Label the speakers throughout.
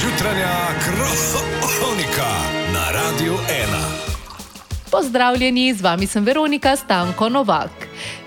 Speaker 1: Jutranja kronika na Radiu 1.
Speaker 2: Pozdravljeni, z vami sem Veronika Stanko Novak.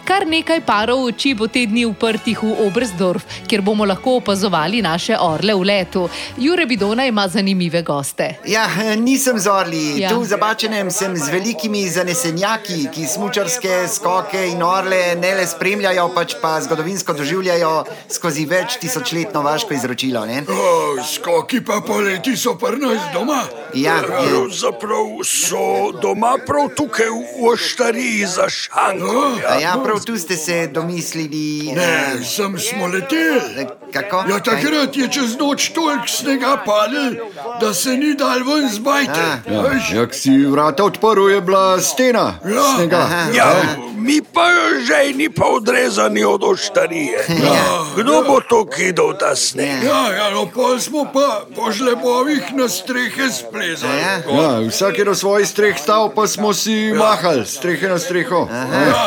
Speaker 2: Kar nekaj parov oči bo te dni uprtih v Oberstdorf, kjer bomo lahko opazovali naše orle v letu. Jure Bidona ima zanimive goste.
Speaker 3: Ja, nisem zorli.
Speaker 2: Ja.
Speaker 3: Ja. Tu v Zabačenem sem z velikimi zanesenjaki, ki smučarske skoke in orle ne le spremljajo, pač pa zgodovinsko doživljajo skozi več tisočletno vaško izročilo. Ne?
Speaker 4: O, skoki pa poleti so pri nas doma.
Speaker 3: Ja, ja.
Speaker 4: Pravzaprav so doma prav tukaj v Oštariji za šankom.
Speaker 3: A Ja, prav tu ste se domislili.
Speaker 4: Ne, sem smo leteli.
Speaker 3: eh, Kako?
Speaker 4: Ja, takrat je čez noč toliko snega padel, da se ni dal ven zbajti.
Speaker 3: Ah.
Speaker 4: Ja,
Speaker 5: Jak si vrata odprl, je bila stena.
Speaker 4: Ja.
Speaker 5: Snega.
Speaker 3: Aha.
Speaker 6: Ja, mi pa že ni pa odrezani od oštarije.
Speaker 3: Ja.
Speaker 4: Ah,
Speaker 6: Kdo bo to kidal ta sneg?
Speaker 3: Ja.
Speaker 4: ja, ja no, pol smo pa po žlebovih na strehe splezali.
Speaker 3: Ja.
Speaker 5: Ja, vsak je na svojih streh stal, pa smo si mahali, strehe na streho.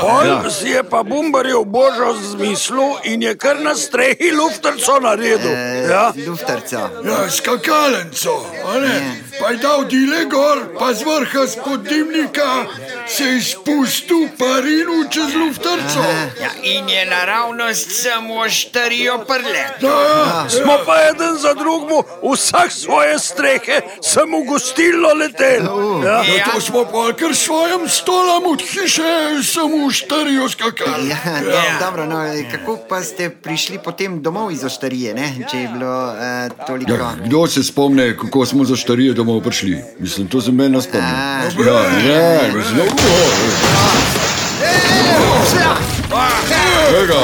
Speaker 6: Pol
Speaker 5: Ja.
Speaker 6: si je pa bumbarjev božjo zmislil in je kar na strehi luftrco naredil.
Speaker 3: Eh,
Speaker 6: Ja.
Speaker 3: Luftarca.
Speaker 4: E. Ja, skakalenco, a ne? pa je dal dile gor, pa z vrha spod dimnika se je izpustil parinu čez luftarco.
Speaker 7: Ja, in je naravnost samo štarijo prle.
Speaker 4: Ja,
Speaker 6: Smo pa eden za drugim, vsak svoje strehe, samo gostilno letel. Ja.
Speaker 4: ja, to smo pa kar svojim stolom od hiše, samo štarijo skakali.
Speaker 3: Ja, ja. Dobro, no, eh, kako pa ste prišli potem domov iz oštarije, ne? če je bilo uh, toliko?
Speaker 5: Ja, kdo se spomne, kako smo za štarije domov prišli? Mislim, to se meni spomni.
Speaker 3: A.
Speaker 5: Ja, ja, zelo. Tega.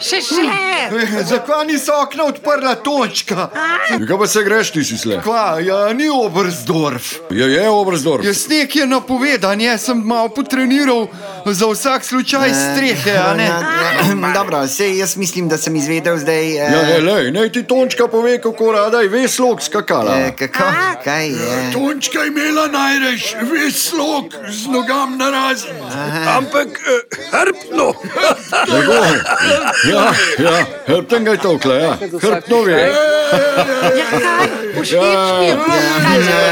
Speaker 2: Še še.
Speaker 8: E,
Speaker 5: Zakaj nisi okna odprla točka? Kaj pa se greš, ti si sle?
Speaker 8: Kva, ja, ni Oberstdorf.
Speaker 5: Je, je, Obrzdor.
Speaker 8: Ja, sneg je napovedan, jaz sem malo potreniral za vsak slučaj
Speaker 5: Ja.
Speaker 8: strehe. a ne.
Speaker 3: Ja, dobro, sej jaz mislim, da sem izvedel zdaj. eh,
Speaker 5: Ja, ne, lej, naj ti Tončka pove, kako rada je veslog skakala.
Speaker 3: Eh, Kako? Kaj je?
Speaker 4: Tončka je imela najrež, veš slog z nogam narazen.
Speaker 6: Ampak eh, hrbtno,
Speaker 5: Tako. Ja, ja, hrbten ga je tokla, ja. hrbtno ve.
Speaker 3: Ja,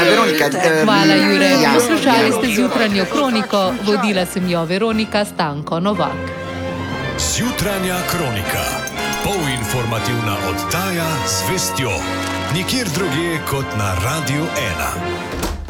Speaker 3: Veronika, eh,
Speaker 2: Hvala, Jure.
Speaker 3: ja.
Speaker 2: Poslušali ste zjutranjo kroniko, vodila sem jo Veronika Stanko Novak.
Speaker 1: Zjutranja kronika. Polinformativna oddaja z vestjo. Nikjer drugje kot na Radiu 1.